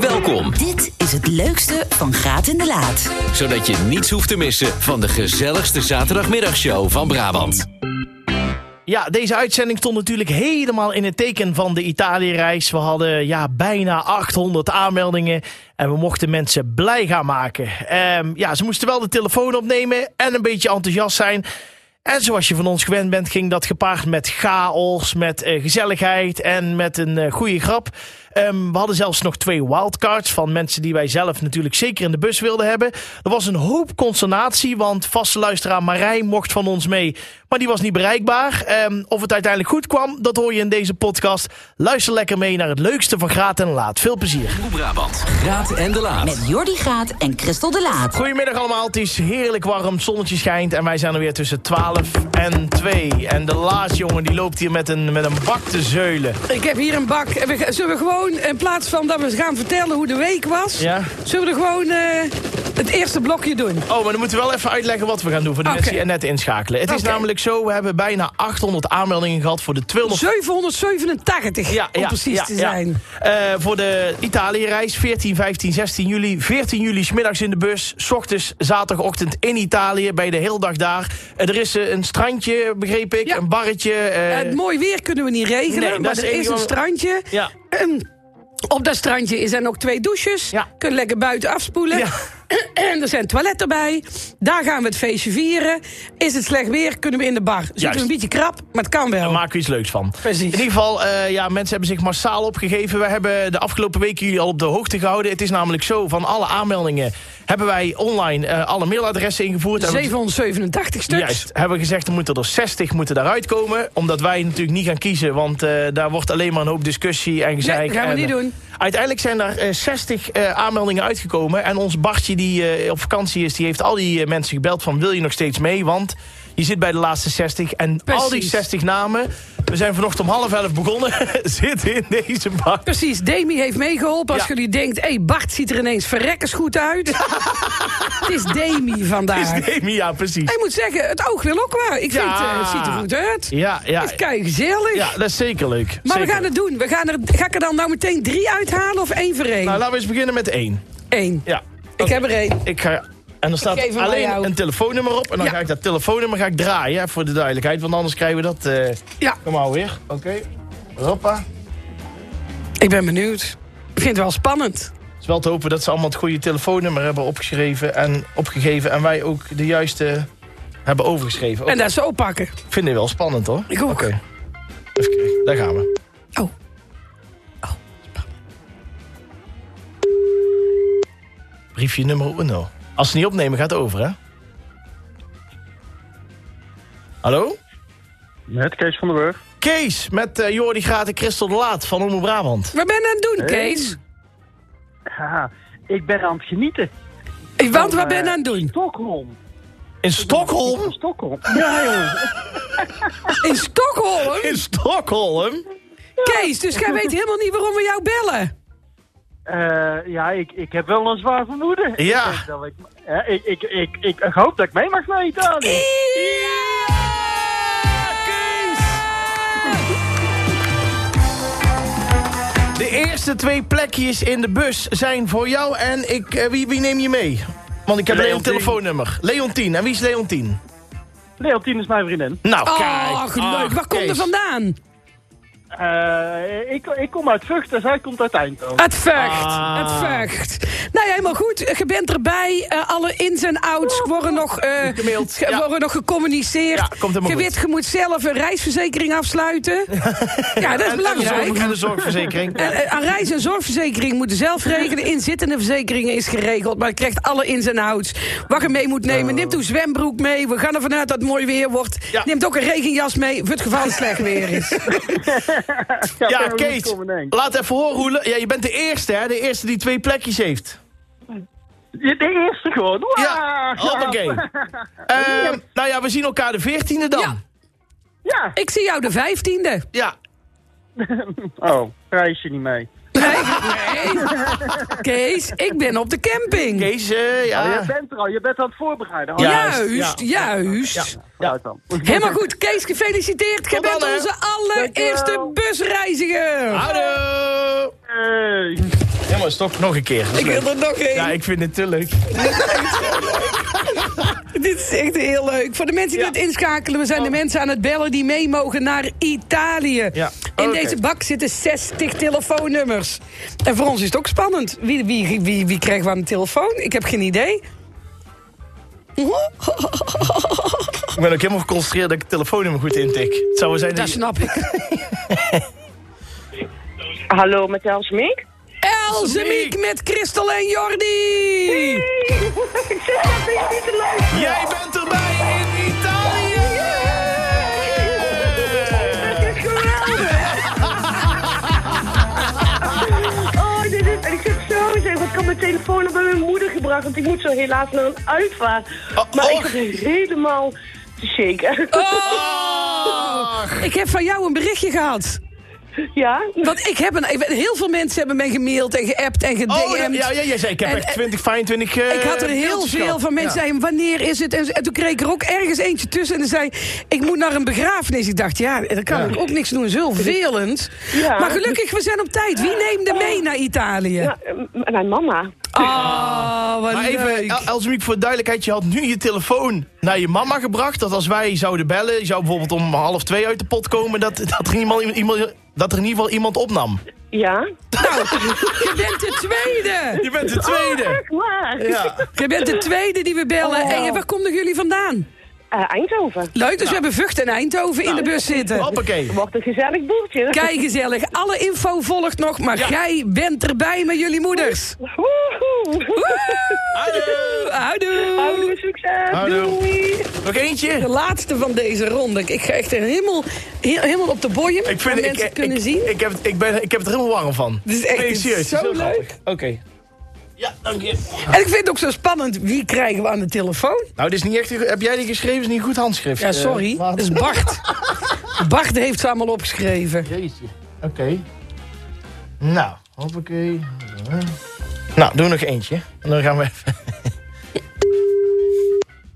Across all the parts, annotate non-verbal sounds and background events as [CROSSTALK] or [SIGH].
Welkom, Dit is het leukste van Graat in de Laat. zodat je niets hoeft te missen van de gezelligste zaterdagmiddagshow van Brabant. Ja, deze uitzending stond natuurlijk helemaal in het teken van de Italië-reis. We hadden ja, bijna 800 aanmeldingen en we mochten mensen blij gaan maken. Ehm, ja, ze moesten wel de telefoon opnemen en een beetje enthousiast zijn. En zoals je van ons gewend bent, ging dat gepaard met chaos, met eh, gezelligheid en met een eh, goede grap. Ehm, we hadden zelfs nog twee wildcards van mensen die wij zelf natuurlijk zeker in de bus wilden hebben. Er was een hoop consternatie, want vaste luisteraar Marij mocht van ons mee, maar die was niet bereikbaar. Ehm, of het uiteindelijk goed kwam, dat hoor je in deze podcast. Luister lekker mee naar het leukste van Graat en Laat. Veel plezier. Omroep Brabant, Graat en de Laat. Met Jordi Graat en Christel de Laat. Goedemiddag allemaal, het is heerlijk warm, zonnetje schijnt en wij zijn er weer tussen 12 en 2. En de laatste jongen die loopt hier met een, met een bak te zeulen. Ik heb hier een bak. En we ga- Zullen we gewoon, in plaats van dat we gaan vertellen hoe de week was... Ja. zullen we er gewoon eh, het eerste blokje doen? Oh, maar dan moeten we wel even uitleggen wat we gaan doen voor de Oké. mensen die er net inschakelen. Het is Oké. namelijk zo, we hebben bijna 800 aanmeldingen gehad voor de 200... 787, om precies te ja. zijn. Eh, voor de Italië-reis 14, 15, 16 juli. 14 juli 's middags in de bus. 's ochtends, zaterdagochtend in Italië. Bij de hele dag daar. Eh, er is eh, een strandje, begreep ik. Ja. Een barretje. eh, het mooi weer kunnen we niet regelen, nee, dat maar is er het is enige een wat we- strandje. ja. Op dat strandje zijn ook twee douches. Ja. Kun je lekker buiten afspoelen. Ja. En er zijn toiletten bij. Daar gaan we het feestje vieren. Is het slecht weer, kunnen we in de bar. Zitten Juist. we een beetje krap, maar het kan wel. Daar maken we iets leuks van. Precies. In ieder geval, eh, ja, mensen hebben zich massaal opgegeven. We hebben de afgelopen weken jullie al op de hoogte gehouden. Het is namelijk zo, van alle aanmeldingen hebben wij online eh, alle mailadressen ingevoerd. En we- 787 stuks. Juist, hebben we gezegd, er moeten er 60 moeten daaruit komen. Omdat wij natuurlijk niet gaan kiezen, want eh, daar wordt alleen maar een hoop discussie en gezeik. Nee, gaan we en- eh, niet doen. Uiteindelijk zijn er eh, 60 eh, aanmeldingen uitgekomen. En ons Bartje, die eh, op vakantie is, die heeft al die eh, mensen gebeld van... wil je nog steeds mee, want je zit bij de laatste 60. En al die Precies. 60 namen, we zijn vanochtend om half elf begonnen... [LAUGHS] zitten in deze bak. Precies, Demi heeft meegeholpen. Als Ja. jullie denkt, hé, hey, Bart ziet er ineens verrekkers goed [LAUGHS] uit. het is Demi vandaag. Nee, ja, precies. Ik moet zeggen, het oog wil ook waar. Ik Ja. vind, eh, het ziet er goed uit. Ja, ja, Het is kei gezellig. ja, dat is zeker leuk. maar Zeker. we gaan het doen. We gaan er, ga ik er dan nou meteen drie uithalen of één voor één? Nou, laten we eens beginnen met één. Eén. Ja. Ik heb er één. Ik ga, en er geef staat hem aan alleen jou. een telefoonnummer op. En dan Ja. ga ik dat telefoonnummer ga ik draaien, hè, voor de duidelijkheid. Want anders krijgen we dat... eh, Ja, Kom maar weer. Oké. Hoppa. Het ik ben benieuwd. Ik vind het wel spannend. is wel te hopen dat ze allemaal het goede telefoonnummer hebben opgeschreven en opgegeven. En wij ook de juiste hebben overgeschreven. Ook, En dat ze oppakken. Ik vind dit wel spannend hoor. Ik ook. Oké. Even kijken. Daar gaan we. Oh. Briefje nummer 1. Als ze niet opnemen gaat het over hè. Hallo? Met Kees van der Burg. Kees met eh Jordi Graat en Christel de Laat van Omroep Brabant. Wat ben je aan het doen, Hey. Kees? Haha, ik ben aan het genieten. Ik- Want wat eh, ben je aan het doen? Stockholm. In Ik ben Stockholm? in Stockholm. Ja, jongen. In [LAUGHS] Stockholm? In Stockholm? Kees, dus jij weet helemaal niet waarom we jou bellen. Eh, ja, ik, ik heb wel een zwaar vermoeden. Ja. Ik, denk dat ik, eh, ik, ik, ik, ik, ik hoop dat ik mee mag naar Italië. De eerste twee plekjes in de bus zijn voor jou en ik, eh, wie, wie neem je mee? Want ik heb alleen een Leontien. telefoonnummer. Leontien. En wie is Leontien? Leontien is mijn vriendin. Nou, kijk. Ach, Oh, leuk. Waar komt Kees. er vandaan? Eh, ik, ik kom uit Vught en zij komt uit Eindhoven. Het vecht. Ah. Het vecht. Nou ja, helemaal goed. Je bent erbij. Eh, alle ins en outs worden nog, eh, Gemaild, ge- ja. worden nog gecommuniceerd. Ja, komt helemaal je goed. weet, je moet zelf een reisverzekering afsluiten. [LAUGHS] ja, dat is En- en de zorg- belangrijk. [LAUGHS] En de zorgverzekering. En, eh, Aan reis- en zorgverzekering moeten zelf regelen. Inzittende verzekeringen is geregeld. Maar je krijgt alle ins en outs. Wat je mee moet nemen. Neemt uw zwembroek mee. We gaan ervan uit dat het mooi weer wordt. Oh. Ja. Neemt ook een regenjas mee. Voor het geval het slecht weer [LAUGHS] is. Ja, kunnen we niet Kees, komen, denk ik. laat even horen hoe... le- Ja, je bent de eerste, hè? De eerste die twee plekjes heeft. De eerste gewoon. Wow, Ah, Ja, [LAUGHS] hoppakee. Ehm, nou ja, we zien elkaar de veertiende dan. Ja. Ja. Ik zie jou de vijftiende. ja. Oh, reis je niet mee. Nee, nee. Kees, ik ben op de camping. Kees, eh, Oh, ja. je bent er al, je bent aan het voorbereiden. Oh, Ja. Juist, juist. ja, uit dan. Helemaal goed. Kees, gefeliciteerd. Jij Tot bent dan, hè. Ah. onze allereerste Dankjewel. busreiziger. Hallo! Hey. Jongens, toch nog een keer. Ik wil er nog één. Ja, ik vind het te leuk. Dit is echt heel leuk. Voor de mensen die Ja. Oh. het inschakelen, we zijn de mensen aan het bellen die mee mogen naar Italië. Ja. In Oké. deze bak zitten 60 telefoonnummers. En voor ons is het ook spannend. Wie, wie, wie, wie krijgen we aan de telefoon? Ik heb geen idee. Hm? [LAUGHS] Ik ben ook helemaal geconcentreerd dat ik het telefoonnummer goed intik. Het zou wel zijn Dat dat je- snap ik. Hallo, met Elsmik. [LAUGHS] Elsemiek met Christel en Jordi. Ik zeg dat vind je niet te leuk. Jij bent erbij in Italië! Dit is geweldig. Oh, dit is... En ik zit zo zeg, want ik had mijn telefoon al bij mijn moeder gebracht, want ik moet zo helaas naar een uitvaart. Oh, Maar ik och. zat helemaal te shaken. Oh, ik heb van jou een berichtje gehad. [LAUGHS] Ja? Want ik heb een, ik- heel veel mensen hebben mij gemaild en geappt en gedm'd. Oh, dat- ja, ja, jij zei, ik heb En- echt en- 20, 25 eh, Ik had er heel mailtjes veel gehad. van mensen Ja. zeiden, wanneer is het? En, en toen kreeg ik er ook ergens eentje tussen en die zei, ik moet naar een begrafenis. Ik dacht, ja, daar kan ik ook niks doen. Zo vervelend. Ja. Maar gelukkig, we zijn op tijd. Wie neemt er mee naar Italië? Ja, eh, mijn mama. Oh, wat Maar even, leuk. El- Elsemiek, voor de duidelijkheid, je had nu je telefoon naar je mama gebracht. Dat als wij zouden bellen, je zou bijvoorbeeld om half twee uit de pot komen, dat, dat, er, iemand, iemand, dat er in ieder geval iemand opnam. Ja? Nou, je bent de tweede. Je bent de tweede! Echt waar? Ja. Je bent de tweede die we bellen. En je- waar komen jullie vandaan? Eh, Eindhoven. Leuk, dus we hebben Vught en Eindhoven in de bus zitten. Hoppakee. Wordt een gezellig boertje. Kijk gezellig. Alle info volgt nog, maar jij bent erbij met jullie moeders. Woehoe. Houdoe. Houdoe. Houdoe, succes. Houdoe. Doei. Nog eentje? De laatste van deze ronde. Ik ga echt helemaal, he- helemaal op de boeien. Ik, vind, om ik, mensen ik, kunnen ik, zien. Ik, heb, het- ik, ben, ik heb het er helemaal warm van. Dit is echt Nee, dit is serieus, het zo is heel leuk. grappig. Oké. Ja, dank je. En ik vind het ook zo spannend. Wie krijgen we aan de telefoon? Nou, dit is niet echt, heb jij die geschreven? is niet goed handschrift. Ja, eh, sorry. maar- dat is Bart. Bart heeft ze allemaal opgeschreven. Jeetje. Oké. Nou, hoppakee. Nou, doe nog eentje. En dan gaan we even... [LAUGHS]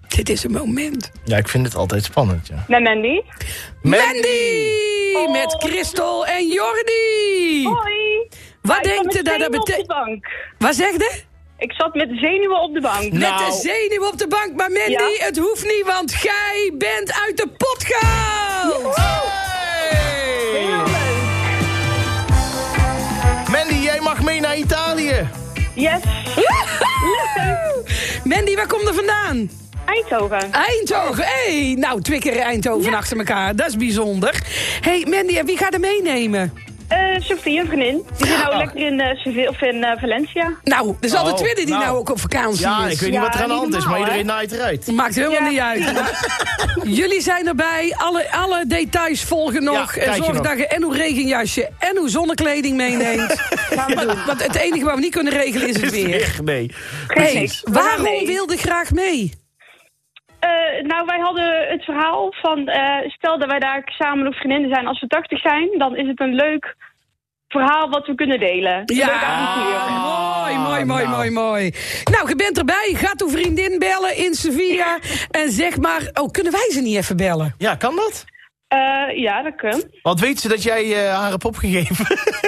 Dit is een moment. Ja, ik vind het altijd spannend, ja. Met Mandy. Mandy! Mandy! Met Christel en Jordi! Hoi. Wat Oh, Ik zat denkt met u dat dat zenuwen op de betekent? bank. Wat zegt u? Ik zat met zenuwen op de bank. Met Nou. de zenuw op de bank. Maar Mandy, Ja. het hoeft niet, want jij bent uit de pot gehaald! Heel leuk. Mandy, jij mag mee naar Italië. Yes, Mandy, waar kom je vandaan? Eindhoven. Eindhoven. hey, nou twee keer Eindhoven achter elkaar. Dat is bijzonder. hey, Mandy, en wie gaat er meenemen? Eh Sophie, een vriendin. Die zit nou Oh. lekker in, eh, Seville- of in eh, Valencia. Nou, er is al de Oh, tweede die nou. nou, ook op vakantie Ja, is. ik weet niet Ja, wat er aan de niet hand is, maar normaal, iedereen hè? naait eruit. Maakt helemaal Ja. niet uit. Jullie zijn erbij. Alle, alle details volgen nog. kijk en je zorg nog. dat je en uw regenjasje en uw zonnekleding meeneemt. want, want het enige wat we niet kunnen regelen is het weer. Echt, nee. Geen Hey, niks. We gaan waarom mee. wilde graag mee? Eh, nou, wij hadden het verhaal van... eh, stel dat wij daar samen nog vriendinnen zijn als we 80 zijn... dan is het een leuk verhaal wat we kunnen delen. Een leuk avontuur. mooi, mooi, mooi, mooi, mooi. Nou, je bent erbij. Gaat uw vriendin bellen in Sevilla. En zeg maar, oh, kunnen wij ze niet even bellen? Ja, kan dat? Eh, ja, dat kan. Want weet ze dat jij eh, haar hebt opgegeven?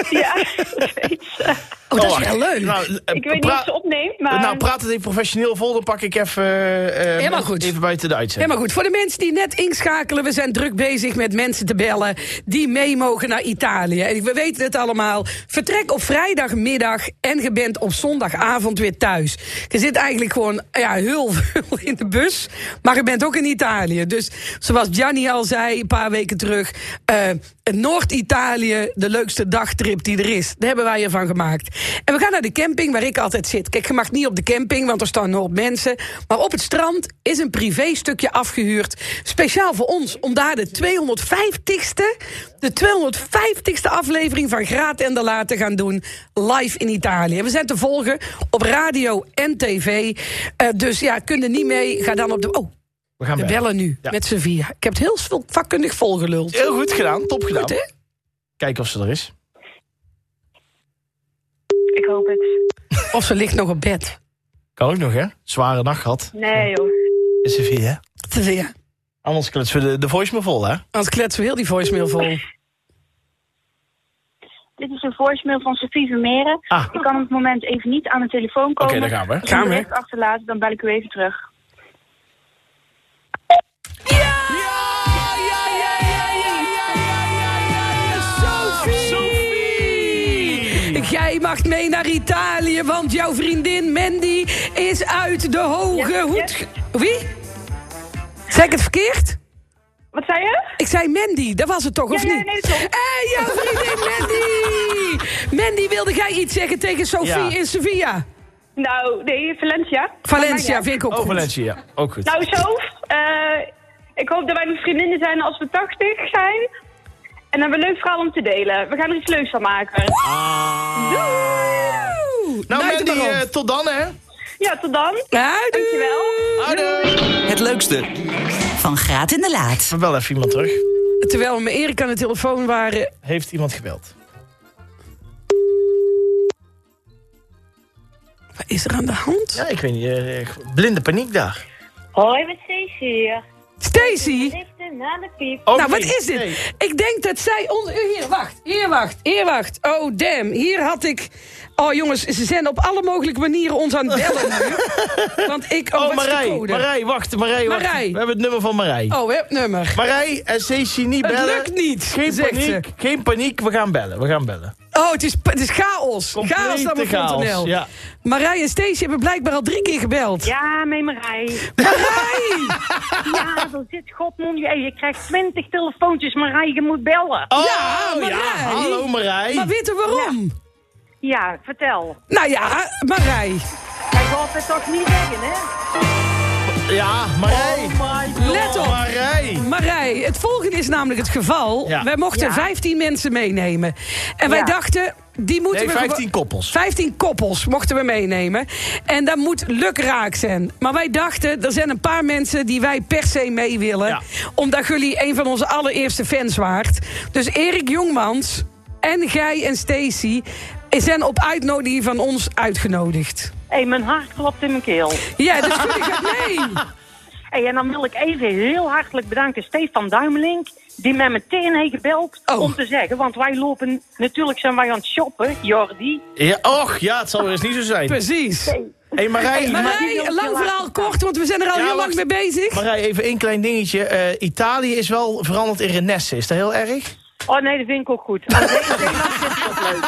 Ja, [LAUGHS] dat weet ze. Oh, dat is wacht. wel leuk. Nou, eh, Ik weet niet pra- of ze opneemt, maar... Nou, praat het even professioneel vol, dan pak ik even, eh, Helemaal eh, goed. even buiten de Ja, uitzending. maar goed, voor de mensen die net inschakelen... we zijn druk bezig met mensen te bellen die mee mogen naar Italië. En we weten het allemaal. Vertrek op vrijdagmiddag en je bent op zondagavond weer thuis. Je zit eigenlijk gewoon ja, heel veel in de bus, maar je bent ook in Italië. Dus zoals Gianni al zei een paar weken terug... eh, Noord-Italië, de leukste dagtrip die er is. Daar hebben wij ervan gemaakt. En we gaan naar de camping waar ik altijd zit. Kijk, je mag niet op de camping, want er staan een hoop mensen. Maar op het strand is een privé stukje afgehuurd. Speciaal voor ons, om daar de 250ste... de 250ste aflevering van Graat en de Laat te gaan doen. Live in Italië. En We zijn te volgen op radio en tv. Eh, dus ja, kunnen niet mee. Ga dan op de... Oh, We gaan we bellen. bellen nu Ja. met Sevilla. Ik heb het heel veel vakkundig volgeluld. Heel goed gedaan, top gedaan. Goed, hè? Kijken of ze er is. Ik ik hoop het. Of ze ligt nog op bed. Kan ook nog, hè? Zware nacht gehad. Nee, joh. Is er vier, hè? Te veel. Anders kletsen we de, de voicemail vol, hè? Anders kletsen we heel die voicemail vol. Dit is een voicemail van Sophie Vermeeren. Ah. Ik kan op het moment even niet aan de telefoon komen. Oké, daar gaan we. Als je een Gaan we. bericht achterlaat, dan bel ik u even terug. Jij mag mee naar Italië, want jouw vriendin Mandy is uit de hoge Ja, hoed. ge- Wie? Zeg ik het verkeerd? Wat zei je? Ik zei Mandy, dat was het toch, of Ja, ja, niet? nee, dat klopt. Hé, jouw vriendin Mandy! Mandy, wilde jij iets zeggen tegen Sophie Ja. in Sevilla? Nou, nee, Valencia. Valencia, vind ik ook Oh, goed. Valencia, ja. Ook goed. Nou, zo. eh, ik hoop dat wij nog vriendinnen zijn als we 80 zijn. En dan hebben we een leuk verhaal om te delen. We gaan er iets leuks van maken. Doei! Nou, Nuit Mandy, hem maar op. eh, tot dan, hè? Ja, tot dan. Nou, doei. Dankjewel. Het leukste. Van Graat in de Laat. We bellen even iemand terug. Terwijl we met Erik aan de telefoon waren, Heeft iemand gebeld? Wat is er aan de hand? Ja, ik weet niet. eh, blinde paniek daar. Hoi, met Stacey hier. Stacy! Even na de piep. Oh, Nou, wat nee, is dit? nee. Ik denk dat zij onder... Hier, wacht. Hier, wacht. Hier, wacht. Oh, damn. Hier had ik... Oh, jongens, ze zijn op alle mogelijke manieren ons aan het bellen [LAUGHS] nu. Want ik... Oh, Oh, wat is de Marij. code? Marij, wacht. Marij, wacht. Marij. We hebben het nummer van Marij. Oh, hè, nummer. Marij en Stacey niet Het bellen. lukt niet, Geen zegt paniek, geen paniek. We gaan bellen, we gaan bellen. Oh, het is, het is chaos. Complete chaos dan chaos, NL. ja. Marij en Stacey hebben blijkbaar al drie keer gebeld. Ja, met Marij. Marij! Ja, dan zit Godmond. Hey, je krijgt twintig telefoontjes, Marij, je moet bellen. Oh, Ja, Marij. hallo Marij. Maar weet je waarom? Ja, vertel. Nou ja, Marij. Hij gaat het toch niet zeggen, hè? Ja, Marij. Let op. Oh Marij. Marij, het volgende is namelijk het geval. Ja. Wij mochten Ja. 15 mensen meenemen. En wij Ja. dachten, die moeten Nee, we... gewoon- 15 koppels. 15 koppels mochten we meenemen. En dat moet lukraak zijn. Maar wij dachten, er zijn een paar mensen die wij per se mee willen. Ja. Omdat jullie een van onze allereerste fans waart. Dus Erik Jongmans en Gij en Stacy zijn op uitnodiging van ons uitgenodigd. Hé, hey, mijn hart klopt in mijn keel. Ja, dus jullie [LAUGHS] gaan mee. Hey, en dan wil ik even heel hartelijk bedanken Stefan Duimelink. Die mij meteen heeft gebeld Oh. om te zeggen. Want wij lopen, natuurlijk zijn wij aan het shoppen, Jordi. Ja, och, ja, het zal weer eens niet zo zijn. Hé Precies. hey, Marij, Ma- Marij, lang verhaal kort, want we zijn er al Ja, heel lang mee wacht. bezig. Marij, even één klein dingetje. Eh, Italië is wel veranderd in Renesse. Is dat heel erg? Oh nee, dat vind ik ook goed. Alleen in Nederland is dat leuk.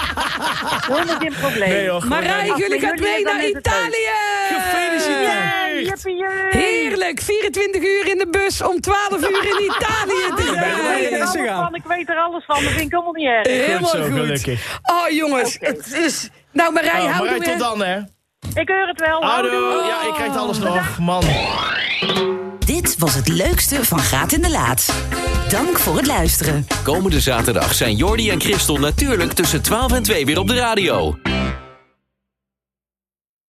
Helemaal geen probleem. hoor. Marij, Als jullie we gaan jullie mee hebben, naar dan is het leuk. Italië! Hey, Gefeliciteerd. jippie, jee. Heerlijk, 24 uur in de bus, om 12 uur in Italië te Ik weet er zijn. alles van, ik weet er alles van. Dat vind ik helemaal niet erg. Goed Helemaal zo, goed. gelukkig. Oh jongens, het is... Nou Marij, Nou, houden Marij, we... tot dan, hè. Ik hoor het wel. Houdoe. Ja, ik krijg alles nog. Man. Dit was het leukste van Graat in de Laat. Dank voor het luisteren. Komende zaterdag zijn Jordi en Christel natuurlijk tussen 12 en 2 weer op de radio.